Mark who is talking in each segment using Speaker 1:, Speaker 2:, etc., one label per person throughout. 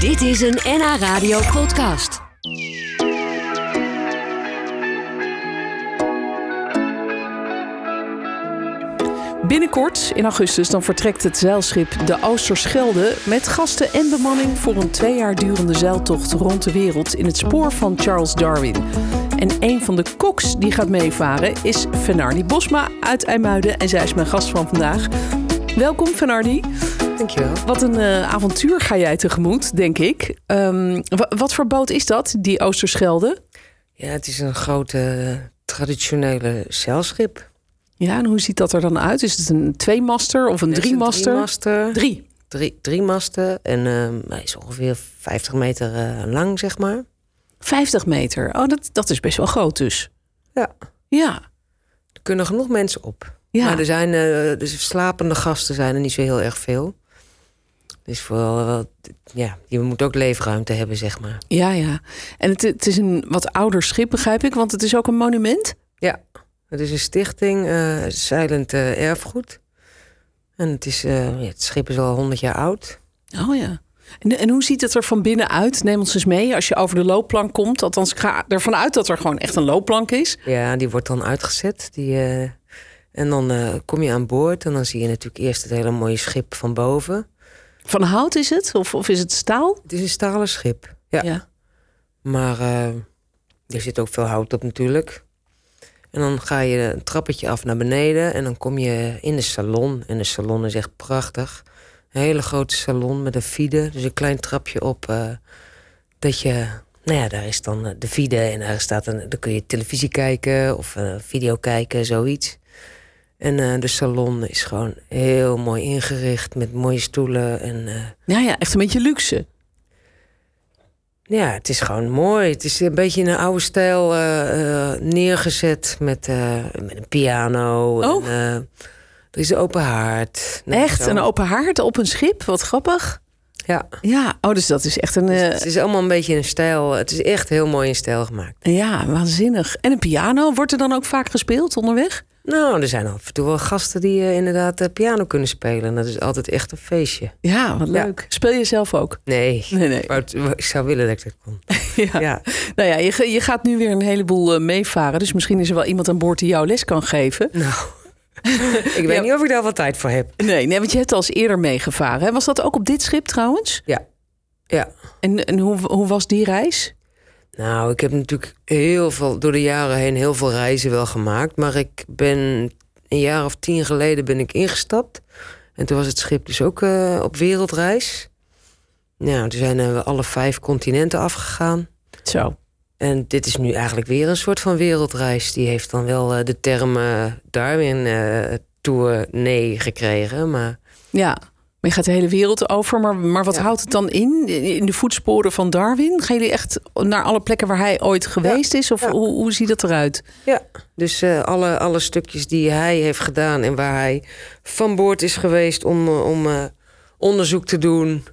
Speaker 1: Dit is een NH Radio podcast.
Speaker 2: Binnenkort, in augustus, dan vertrekt het zeilschip de Oosterschelde... met gasten en bemanning voor een twee jaar durende zeiltocht rond de wereld... in het spoor van Charles Darwin. En een van de koks die gaat meevaren is Fenardi Bosma uit IJmuiden. En zij is mijn gast van vandaag. Welkom, Fenardi.
Speaker 3: Dankjewel.
Speaker 2: Wat een eh, avontuur ga jij tegemoet, denk ik. Ehm, wa- wat voor boot is dat, die Oosterschelde?
Speaker 3: Ja, het is een grote eh, traditionele zeilschip.
Speaker 2: Ja, en hoe ziet dat er dan uit? Is het een tweemaster of een
Speaker 3: Er is
Speaker 2: driemaster?
Speaker 3: driemaster.
Speaker 2: Drie.
Speaker 3: Drie, drie masten. En ehm, hij is ongeveer 50 meter eh, lang, zeg maar.
Speaker 2: 50 meter. Oh, dat, dat is best wel groot dus.
Speaker 3: Ja.
Speaker 2: Ja.
Speaker 3: Er kunnen genoeg mensen op.
Speaker 2: Ja.
Speaker 3: Maar er zijn eh, dus slapende gasten zijn er niet zo heel erg veel. Dus vooral, wel, ja, je moet ook leefruimte hebben, zeg maar.
Speaker 2: Ja, ja. En het, het is een wat ouder schip, begrijp ik, want het is ook een monument.
Speaker 3: Ja, het is een stichting, eh Zeilend eh, Erfgoed. En het, is, eh, ja, het schip is al 100 jaar oud.
Speaker 2: Oh ja. En, en hoe ziet het er van binnen uit? Neem ons eens mee als je over de loopplank komt. Althans, ik ga ervan uit dat er gewoon echt een loopplank is.
Speaker 3: Ja, die wordt dan uitgezet. Die, eh, en dan eh, kom je aan boord en dan zie je natuurlijk eerst het hele mooie schip van boven.
Speaker 2: Van hout is het? Of, of is het staal?
Speaker 3: Het is een stalen schip, ja. Maar eh, er zit ook veel hout op natuurlijk. En dan ga je een trappetje af naar beneden en dan kom je in de salon. En de salon is echt prachtig. Een hele grote salon met een vide, dus een klein trapje op. eh, dat je, nou ja, daar is dan eh, de vide en daar staat een, dan kun je televisie kijken of eh, video kijken, zoiets. En eh, de salon is gewoon heel mooi ingericht met mooie stoelen en... eh,
Speaker 2: Ja, Nou ja, echt een beetje luxe.
Speaker 3: ja, het is gewoon mooi. Het is een beetje in een oude stijl eh, eh, neergezet met, eh, met een piano.
Speaker 2: Oh.
Speaker 3: En, eh, er is een open haard. Nou,
Speaker 2: echt
Speaker 3: zo.
Speaker 2: een open haard op een schip, wat grappig.
Speaker 3: Ja,
Speaker 2: Ja, oh, dus dat is echt een...
Speaker 3: dus
Speaker 2: eh,
Speaker 3: het is allemaal een beetje in een stijl. Het is echt heel mooi in stijl gemaakt.
Speaker 2: eh, ja, waanzinnig. En een piano, wordt er dan ook vaak gespeeld onderweg?
Speaker 3: Nou, er zijn af en toe wel gasten die eh, inderdaad eh, piano kunnen spelen. En dat is altijd echt een feestje.
Speaker 2: Ja, wat
Speaker 3: Ja.
Speaker 2: leuk. Speel je zelf ook?
Speaker 3: Nee,
Speaker 2: Nee, nee.
Speaker 3: maar het- ik zou willen dat ik dat kon.
Speaker 2: Ja.
Speaker 3: Ja,
Speaker 2: Nou ja, je, ga- je gaat nu weer een heleboel eh, meevaren. Dus misschien is er wel iemand aan boord die jou les kan geven.
Speaker 3: nou. ik weet
Speaker 2: Ja.
Speaker 3: niet of ik daar wat tijd voor heb.
Speaker 2: Nee, nee, want je hebt al eens eerder meegevaren. Hè? Was dat ook op dit schip trouwens?
Speaker 3: Ja. Ja,
Speaker 2: En, en hoe, hoe was die reis?
Speaker 3: Nou, ik heb natuurlijk heel veel, door de jaren heen heel veel reizen wel gemaakt. Maar ik ben een jaar of tien geleden ben ik ingestapt. En toen was het schip dus ook eh, op wereldreis. Nou, toen zijn eh, we alle vijf continenten afgegaan.
Speaker 2: Zo.
Speaker 3: En dit is nu eigenlijk weer een soort van wereldreis. Die heeft dan wel eh, de term eh, Darwin eh Tour nee gekregen. Maar
Speaker 2: Ja. Maar je gaat de hele wereld over. Maar, maar wat
Speaker 3: Ja.
Speaker 2: houdt het dan in? In de voetsporen van Darwin? Gaan jullie echt naar alle plekken waar hij ooit geweest is? Of
Speaker 3: Ja.
Speaker 2: hoe, hoe ziet dat eruit?
Speaker 3: Ja, dus eh, alle, alle stukjes die hij heeft gedaan en waar hij van boord is geweest om, eh, om eh, onderzoek te doen,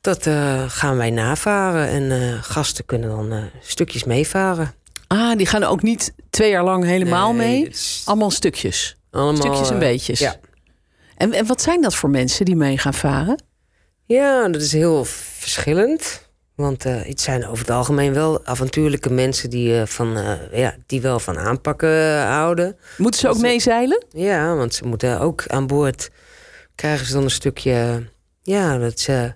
Speaker 3: dat eh, gaan wij navaren. En eh, gasten kunnen dan eh, stukjes meevaren.
Speaker 2: Ah, die gaan ook niet twee jaar lang helemaal
Speaker 3: Nee,
Speaker 2: mee.
Speaker 3: het is
Speaker 2: Allemaal stukjes.
Speaker 3: allemaal,
Speaker 2: stukjes en
Speaker 3: eh,
Speaker 2: beetjes.
Speaker 3: Ja.
Speaker 2: En, en wat zijn dat voor mensen die mee gaan varen?
Speaker 3: ja, dat is heel verschillend. Want eh, het zijn over het algemeen wel avontuurlijke mensen die, eh, van, eh, ja, die wel van aanpakken eh, houden.
Speaker 2: Moeten ze ook
Speaker 3: Dat is-
Speaker 2: meezeilen?
Speaker 3: Ja, want ze moeten ook aan boord. Krijgen ze dan een stukje. Ja, dat ze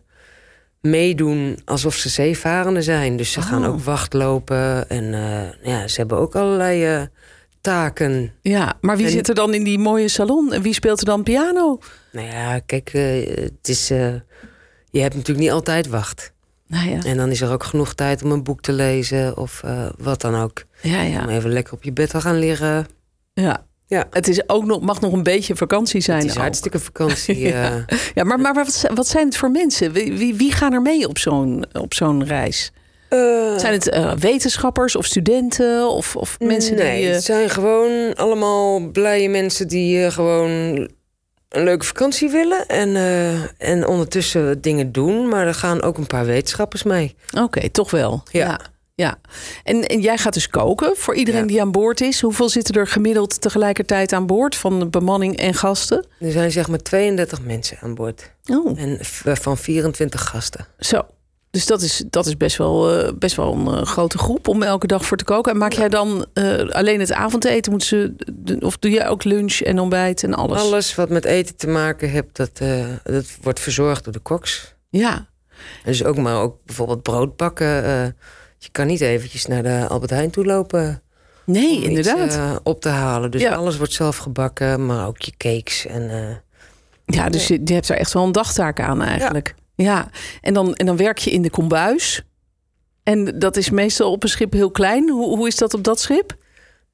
Speaker 3: meedoen alsof ze zeevarenden zijn. Dus ze gaan
Speaker 2: Oh.
Speaker 3: ook wachtlopen. En eh, ja, ze hebben ook allerlei eh, taken.
Speaker 2: Ja, maar wie
Speaker 3: En-
Speaker 2: zit er dan in die mooie salon? En wie speelt er dan piano?
Speaker 3: Nou ja, kijk, eh, het is. eh, je hebt natuurlijk niet altijd wacht.
Speaker 2: Nou ja,
Speaker 3: En dan is er ook genoeg tijd om een boek te lezen of eh, wat dan ook.
Speaker 2: ja,
Speaker 3: Om
Speaker 2: ja.
Speaker 3: even lekker op je bed te gaan liggen.
Speaker 2: ja.
Speaker 3: Ja.
Speaker 2: Het is ook nog, mag nog een beetje vakantie zijn.
Speaker 3: Het is
Speaker 2: ook.
Speaker 3: hartstikke vakantie.
Speaker 2: Ja.
Speaker 3: eh.
Speaker 2: Ja, maar, maar wat, wat zijn het voor mensen? Wie, wie, wie gaan er mee op zo'n, op zo'n reis?
Speaker 3: Eh,
Speaker 2: Zijn het eh, wetenschappers of studenten of, of mensen
Speaker 3: nee,
Speaker 2: die... eh,
Speaker 3: het zijn gewoon allemaal blije mensen die eh, gewoon een leuke vakantie willen. En, eh, en ondertussen dingen doen. Maar er gaan ook een paar wetenschappers mee.
Speaker 2: Oké, toch wel.
Speaker 3: Ja.
Speaker 2: ja. ja. En, en jij gaat dus koken voor iedereen
Speaker 3: Ja.
Speaker 2: die aan boord is. Hoeveel zitten er gemiddeld tegelijkertijd aan boord van de bemanning en gasten?
Speaker 3: Er zijn zeg maar 32 mensen aan boord.
Speaker 2: Oh,
Speaker 3: En v- van 24 gasten.
Speaker 2: zo. Dus dat is, dat is best, wel, eh, best wel een eh, grote groep om elke dag voor te koken. En maak jij dan eh, alleen het avondeten? Moet ze, doen- of doe jij ook lunch en ontbijt en alles?
Speaker 3: Alles wat met eten te maken heeft, dat, eh, dat wordt verzorgd door de koks.
Speaker 2: Ja.
Speaker 3: Dus ook maar ook bijvoorbeeld brood bakken. eh, je kan niet eventjes naar de Albert Heijn toe lopen
Speaker 2: Nee,
Speaker 3: om iets,
Speaker 2: inderdaad.
Speaker 3: eh, op te halen. Dus
Speaker 2: Ja.
Speaker 3: alles wordt zelf gebakken, maar ook je cakes. En, eh,
Speaker 2: ja, dus je, je hebt er echt wel een dagtaak aan eigenlijk. Ja. En, dan, en dan werk je in de kombuis. En dat is meestal op een schip heel klein. Hoe, hoe is dat op dat schip?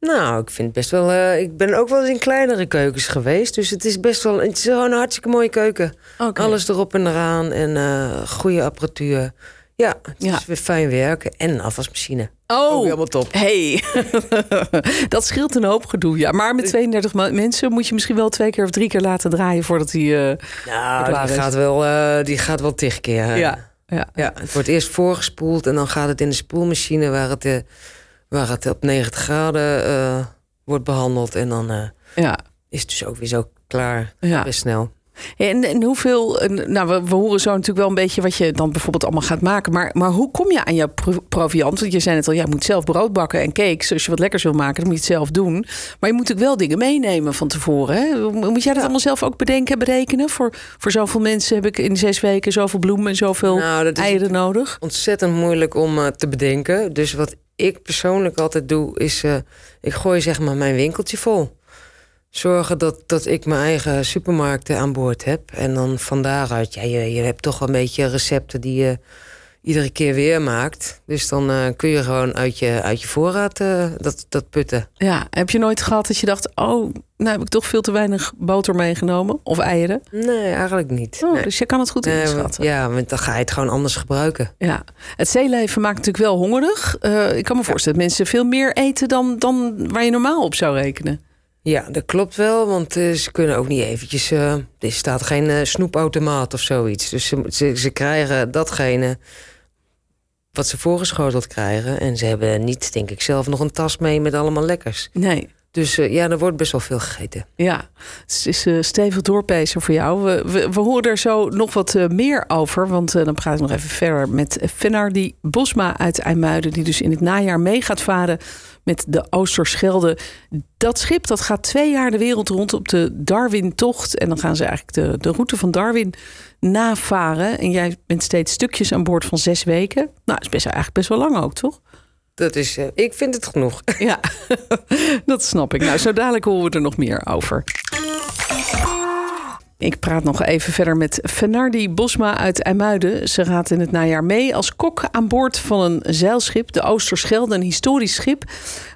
Speaker 3: nou, ik vind best wel. eh, ik ben ook wel eens in kleinere keukens geweest. Dus het is best wel. Het is gewoon een hartstikke mooie keuken.
Speaker 2: Oké.
Speaker 3: Alles erop en eraan en eh, goede apparatuur. Ja, het
Speaker 2: Ja.
Speaker 3: is weer fijn werken en een afwasmachine.
Speaker 2: Oh,
Speaker 3: Ook helemaal top.
Speaker 2: Hey, dat scheelt een hoop gedoe. Ja. Maar met 32 ma- mensen moet je misschien wel twee keer of drie keer laten draaien voordat hij. eh,
Speaker 3: Nou,
Speaker 2: Klaar
Speaker 3: die
Speaker 2: is.
Speaker 3: gaat, wel, eh, die gaat wel tig keer. eh.
Speaker 2: ja. Ja.
Speaker 3: Ja, het wordt eerst voorgespoeld en dan gaat het in de spoelmachine waar het, eh, waar het op 90 graden eh, wordt behandeld. En dan eh,
Speaker 2: ja,
Speaker 3: is het dus ook weer zo klaar.
Speaker 2: ja.
Speaker 3: Best snel.
Speaker 2: En, en hoeveel. en, Nou, we, we horen zo natuurlijk wel een beetje wat je dan bijvoorbeeld allemaal gaat maken. Maar, maar hoe kom je aan jouw pro- proviant? Want je zei net al, jij moet zelf brood bakken en cakes. Als je wat lekkers wil maken, dan moet je het zelf doen. Maar je moet natuurlijk wel dingen meenemen van tevoren. Hè? Moet jij dat allemaal zelf ook bedenken en berekenen? Voor, voor zoveel mensen heb ik in zes weken zoveel bloemen en zoveel
Speaker 3: Nou, dat is
Speaker 2: eieren nodig.
Speaker 3: ontzettend moeilijk om eh, te bedenken. Dus wat ik persoonlijk altijd doe, is eh, ik gooi zeg maar mijn winkeltje vol. Zorgen dat, dat ik mijn eigen supermarkten aan boord heb. En dan van daaruit, ja, je, je hebt toch wel een beetje recepten die je iedere keer weer maakt. Dus dan eh, kun je gewoon uit je, uit je voorraad eh, dat, dat putten.
Speaker 2: Ja, heb je nooit gehad dat je dacht: oh, nou heb ik toch veel te weinig boter meegenomen? Of eieren?
Speaker 3: Nee, eigenlijk niet.
Speaker 2: Oh,
Speaker 3: Nee.
Speaker 2: Dus je kan het goed
Speaker 3: Nee, want-
Speaker 2: inschatten.
Speaker 3: ja, want dan ga je het gewoon anders gebruiken.
Speaker 2: Ja, het zeeleven maakt natuurlijk wel hongerig. Eh, ik kan me voorstellen dat mensen veel meer eten dan, dan waar je normaal op zou rekenen.
Speaker 3: Ja, dat klopt wel, want eh, ze kunnen ook niet eventjes... eh, er staat geen eh, snoepautomaat of zoiets. Dus ze, ze, ze krijgen datgene wat ze voorgeschoteld krijgen. En ze hebben niet, denk ik zelf, nog een tas mee met allemaal lekkers.
Speaker 2: Nee.
Speaker 3: Dus eh, ja, er wordt best wel veel gegeten.
Speaker 2: Ja, het is eh stevig doorpezen voor jou. We, we, we horen er zo nog wat eh, meer over. Want eh, dan praat ik nog even verder met Fennardi Bosma uit IJmuiden. Die dus in het najaar mee gaat varen met de Oosterschelde. Dat schip dat gaat twee jaar de wereld rond op de Darwin-tocht. En dan gaan ze eigenlijk de, de route van Darwin navaren. En jij bent steeds stukjes aan boord van zes weken. Nou, dat is best, eigenlijk best wel lang ook, toch?
Speaker 3: Dat is, eh, ik vind het genoeg.
Speaker 2: Ja, dat snap ik. Nou, zo dadelijk horen we er nog meer over. Ik praat nog even verder met Fenardi Bosma uit IJmuiden. Ze gaat in het najaar mee als kok aan boord van een zeilschip, de Oosterschelde, een historisch schip.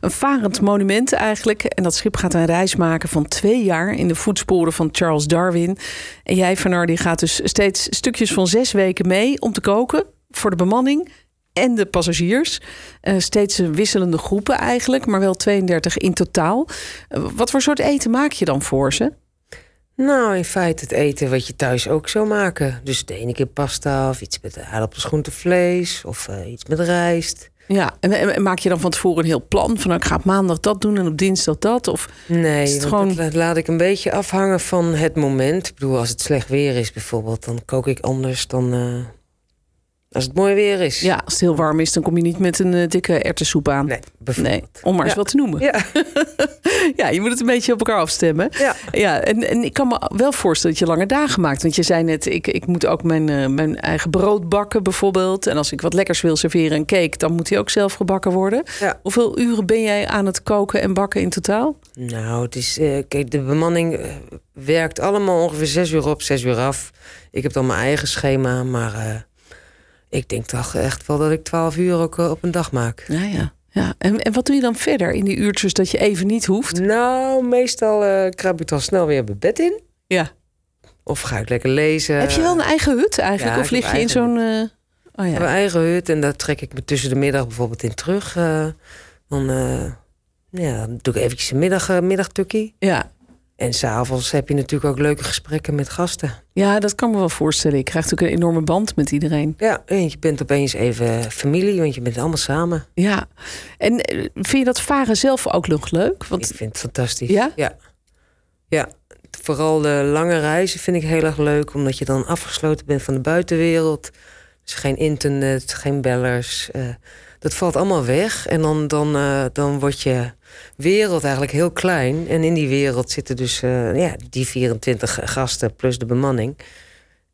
Speaker 2: Een varend monument eigenlijk. En dat schip gaat een reis maken van twee jaar in de voetsporen van Charles Darwin. En jij, Fenardi, gaat dus steeds stukjes van zes weken mee om te koken voor de bemanning en de passagiers. Eh, steeds wisselende groepen eigenlijk, maar wel 32 in totaal. Eh, wat voor soort eten maak je dan voor ze?
Speaker 3: Nou, in feite het eten wat je thuis ook zou maken. Dus de ene keer pasta of iets met aardappels, groente, vlees... of eh, iets met rijst.
Speaker 2: Ja, en, en- en maak je dan van tevoren een heel plan van nou, ik ga op maandag dat doen en op dinsdag dat? Of
Speaker 3: Nee,
Speaker 2: Is het
Speaker 3: want
Speaker 2: gewoon-
Speaker 3: dat la- laat ik een beetje afhangen van het moment. Ik bedoel, als het slecht weer is bijvoorbeeld, dan kook ik anders dan eh, als het mooi weer is.
Speaker 2: ja, als het heel warm is, dan kom je niet met een eh, dikke erwtensoep aan.
Speaker 3: Nee,
Speaker 2: Nee,
Speaker 3: bijvoorbeeld.
Speaker 2: om maar eens
Speaker 3: Ja.
Speaker 2: wat te noemen.
Speaker 3: Ja,
Speaker 2: Ja, je moet het een beetje op elkaar afstemmen.
Speaker 3: ja.
Speaker 2: Ja, en, en ik kan me wel voorstellen dat je lange dagen maakt. Want je zei net, ik, ik moet ook mijn, eh, mijn eigen brood bakken bijvoorbeeld. En als ik wat lekkers wil serveren, een cake, dan moet die ook zelf gebakken worden.
Speaker 3: Ja.
Speaker 2: Hoeveel uren ben jij aan het koken en bakken in totaal?
Speaker 3: Nou, het is, eh, kijk, de bemanning eh, werkt allemaal ongeveer zes uur op, zes uur af. Ik heb dan mijn eigen schema, maar eh, ik denk toch echt wel dat ik twaalf uur ook eh, op een dag maak.
Speaker 2: Ja, ja. ja. En, en wat doe je dan verder in die uurtjes dat je even niet hoeft?
Speaker 3: Nou, meestal eh kruip ik dan snel weer mijn bed in.
Speaker 2: Ja.
Speaker 3: Of ga ik lekker lezen.
Speaker 2: heb je wel een eigen hut eigenlijk?
Speaker 3: Eh, ja,
Speaker 2: of
Speaker 3: ik heb
Speaker 2: lig je in
Speaker 3: eigen
Speaker 2: zo'n... eh, Oh
Speaker 3: Ik
Speaker 2: ja.
Speaker 3: heb mijn eigen hut en daar trek ik me tussen de middag bijvoorbeeld in terug. eh. dan, eh, ja, dan doe ik eventjes een middag, eh, middagtukkie.
Speaker 2: ja.
Speaker 3: En s'avonds heb je natuurlijk ook leuke gesprekken met gasten.
Speaker 2: Ja, dat kan me wel voorstellen. Ik krijg natuurlijk een enorme band met iedereen.
Speaker 3: Ja, en je bent opeens even familie, want je bent allemaal samen.
Speaker 2: Ja. En eh, vind je dat varen zelf ook nog leuk? Want
Speaker 3: Ik vind het fantastisch.
Speaker 2: Ja?
Speaker 3: Ja. Ja. Vooral de lange reizen vind ik heel erg leuk, omdat je dan afgesloten bent van de buitenwereld. Dus geen internet, geen bellers. eh, dat valt allemaal weg. En dan, dan, eh, dan wordt je wereld eigenlijk heel klein. En in die wereld zitten dus eh, ja, die 24 gasten plus de bemanning.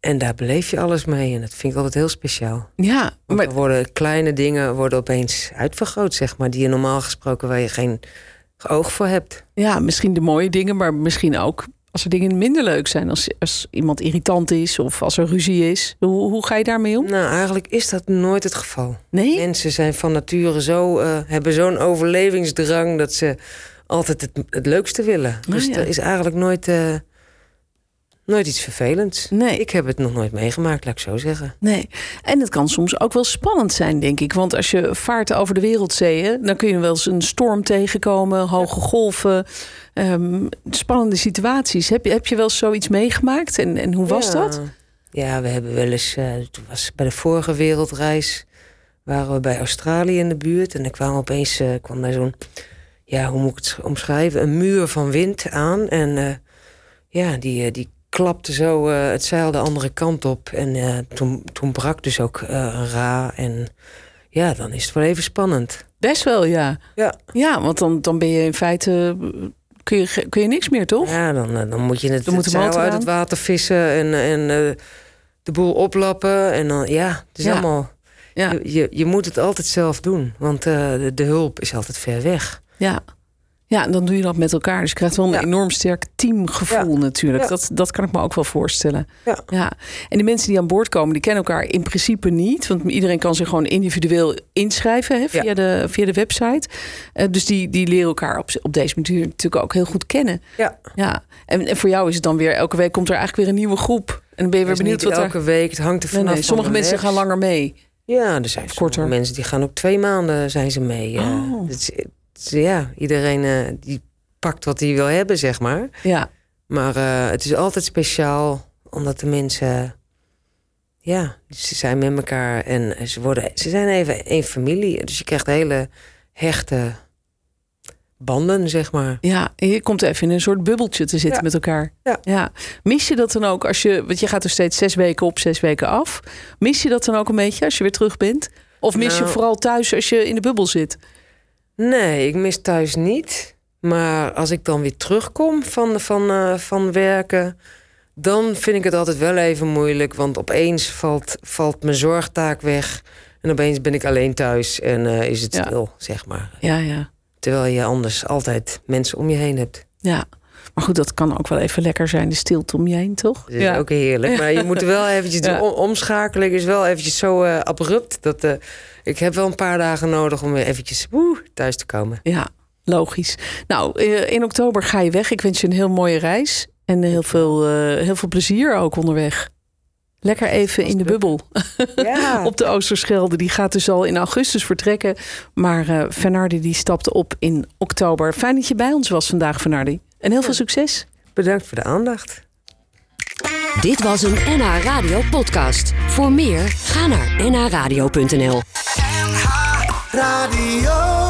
Speaker 3: En daar beleef je alles mee. En dat vind ik altijd heel speciaal.
Speaker 2: Ja,
Speaker 3: Want
Speaker 2: maar
Speaker 3: er worden kleine dingen worden opeens uitvergroot, zeg maar. Die je normaal gesproken waar je geen oog voor hebt.
Speaker 2: ja, misschien de mooie dingen, maar misschien ook als er dingen minder leuk zijn. Als, als iemand irritant is of als er ruzie is. Hoe, hoe ga je daarmee om?
Speaker 3: Nou, eigenlijk is dat nooit het geval.
Speaker 2: Nee?
Speaker 3: Mensen zijn van nature zo, eh, hebben zo'n overlevingsdrang dat ze altijd het, het leukste willen.
Speaker 2: Oh,
Speaker 3: dus
Speaker 2: ja.
Speaker 3: er is eigenlijk nooit, eh, nooit iets vervelends.
Speaker 2: Nee.
Speaker 3: Ik heb het nog nooit meegemaakt, laat ik zo zeggen.
Speaker 2: Nee. En het kan soms ook wel spannend zijn, denk ik. Want als je vaart over de wereldzeeën, dan kun je wel eens een storm tegenkomen, hoge golven, ehm, spannende situaties. Heb je, heb je wel eens zoiets meegemaakt en, en hoe was
Speaker 3: Ja.
Speaker 2: dat?
Speaker 3: Ja, we hebben wel eens, eh, toen was bij de vorige wereldreis, waren we bij Australië in de buurt. En er kwam opeens, eh, kwam daar zo'n, ja, hoe moet ik het omschrijven, een muur van wind aan. En eh, ja, die, eh, die klapte zo eh, het zeil de andere kant op. En eh, toen, toen brak dus ook eh, een ra. En ja, dan is het wel even spannend.
Speaker 2: Best wel, ja.
Speaker 3: Ja.
Speaker 2: Ja, want dan, dan ben je in feite, eh, kun je, ge- kun je niks meer, toch?
Speaker 3: Ja, dan, eh, dan moet je het,
Speaker 2: Dan moet
Speaker 3: het
Speaker 2: de motor
Speaker 3: zeil uit
Speaker 2: aan.
Speaker 3: het water vissen en, en eh, de boel oplappen. En dan, ja, het is
Speaker 2: Ja.
Speaker 3: allemaal...
Speaker 2: Ja.
Speaker 3: Je, je, je moet het altijd zelf doen, want eh, de, de hulp is altijd ver weg.
Speaker 2: Ja. Ja, en dan doe je dat met elkaar. Dus je krijgt wel een
Speaker 3: Ja.
Speaker 2: enorm sterk teamgevoel natuurlijk.
Speaker 3: Ja.
Speaker 2: Dat, dat kan ik me ook wel voorstellen.
Speaker 3: Ja.
Speaker 2: En de mensen die aan boord komen, die kennen elkaar in principe niet. Want iedereen kan zich gewoon individueel inschrijven hè, via,
Speaker 3: Ja.
Speaker 2: de, via de website. Eh, dus die, die leren elkaar op, op deze manier natuurlijk ook heel goed kennen.
Speaker 3: Ja.
Speaker 2: ja. En, en voor jou is het dan weer, elke week komt er eigenlijk weer een nieuwe groep. En dan ben je weer
Speaker 3: Dus
Speaker 2: benieuwd
Speaker 3: niet
Speaker 2: wat
Speaker 3: elke
Speaker 2: er...
Speaker 3: week, het hangt er
Speaker 2: Nee,
Speaker 3: vanaf.
Speaker 2: nee,
Speaker 3: van
Speaker 2: sommige
Speaker 3: de
Speaker 2: mensen
Speaker 3: les.
Speaker 2: gaan langer mee.
Speaker 3: Ja, er zijn
Speaker 2: korter.
Speaker 3: korter. mensen die gaan ook twee maanden zijn ze mee. eh.
Speaker 2: Oh.
Speaker 3: Het is- het is- ja, iedereen eh, die pakt wat hij wil hebben, zeg maar.
Speaker 2: Ja,
Speaker 3: Maar eh, het is altijd speciaal, omdat de mensen... Ja, ze zijn met elkaar en ze, worden, ze zijn even één familie. Dus je krijgt hele hechte banden, zeg maar.
Speaker 2: Ja, en je komt even in een soort bubbeltje te zitten
Speaker 3: Ja.
Speaker 2: met elkaar.
Speaker 3: Ja.
Speaker 2: Mis je dat dan ook als je, want je gaat er steeds zes weken op, zes weken af. Mis je dat dan ook een beetje als je weer terug bent? Of mis je
Speaker 3: Nou.
Speaker 2: vooral thuis als je in de bubbel zit?
Speaker 3: Nee, ik mis thuis niet. Maar als ik dan weer terugkom van, van, eh, van werken, dan vind ik het altijd wel even moeilijk. Want opeens valt, valt mijn zorgtaak weg. En opeens ben ik alleen thuis en eh, is het
Speaker 2: Ja.
Speaker 3: stil, zeg maar.
Speaker 2: Ja, ja,
Speaker 3: Terwijl je anders altijd mensen om je heen hebt.
Speaker 2: ja. Maar goed, dat kan ook wel even lekker zijn, de stilte om je heen, toch?
Speaker 3: Dat is ook heerlijk. Maar je moet er wel eventjes...
Speaker 2: Ja.
Speaker 3: de om- omschakeling is wel eventjes zo eh, abrupt. Dat, eh, ik heb wel een paar dagen nodig om weer eventjes woe, thuis te komen.
Speaker 2: ja, logisch. Nou, eh, in oktober ga je weg. Ik wens je een heel mooie reis en heel veel, eh, heel veel plezier ook onderweg. Lekker even in de bubbel.
Speaker 3: Ja.
Speaker 2: op de Oosterschelde. Die gaat dus al in augustus vertrekken. Maar eh Fernardi die stapt op in oktober. Fijn dat je bij ons was vandaag, Fernardi. En heel veel succes.
Speaker 3: Bedankt voor de aandacht.
Speaker 1: Dit was een NH Radio podcast. Voor meer, ga naar nhradio.nl.
Speaker 4: NH Radio.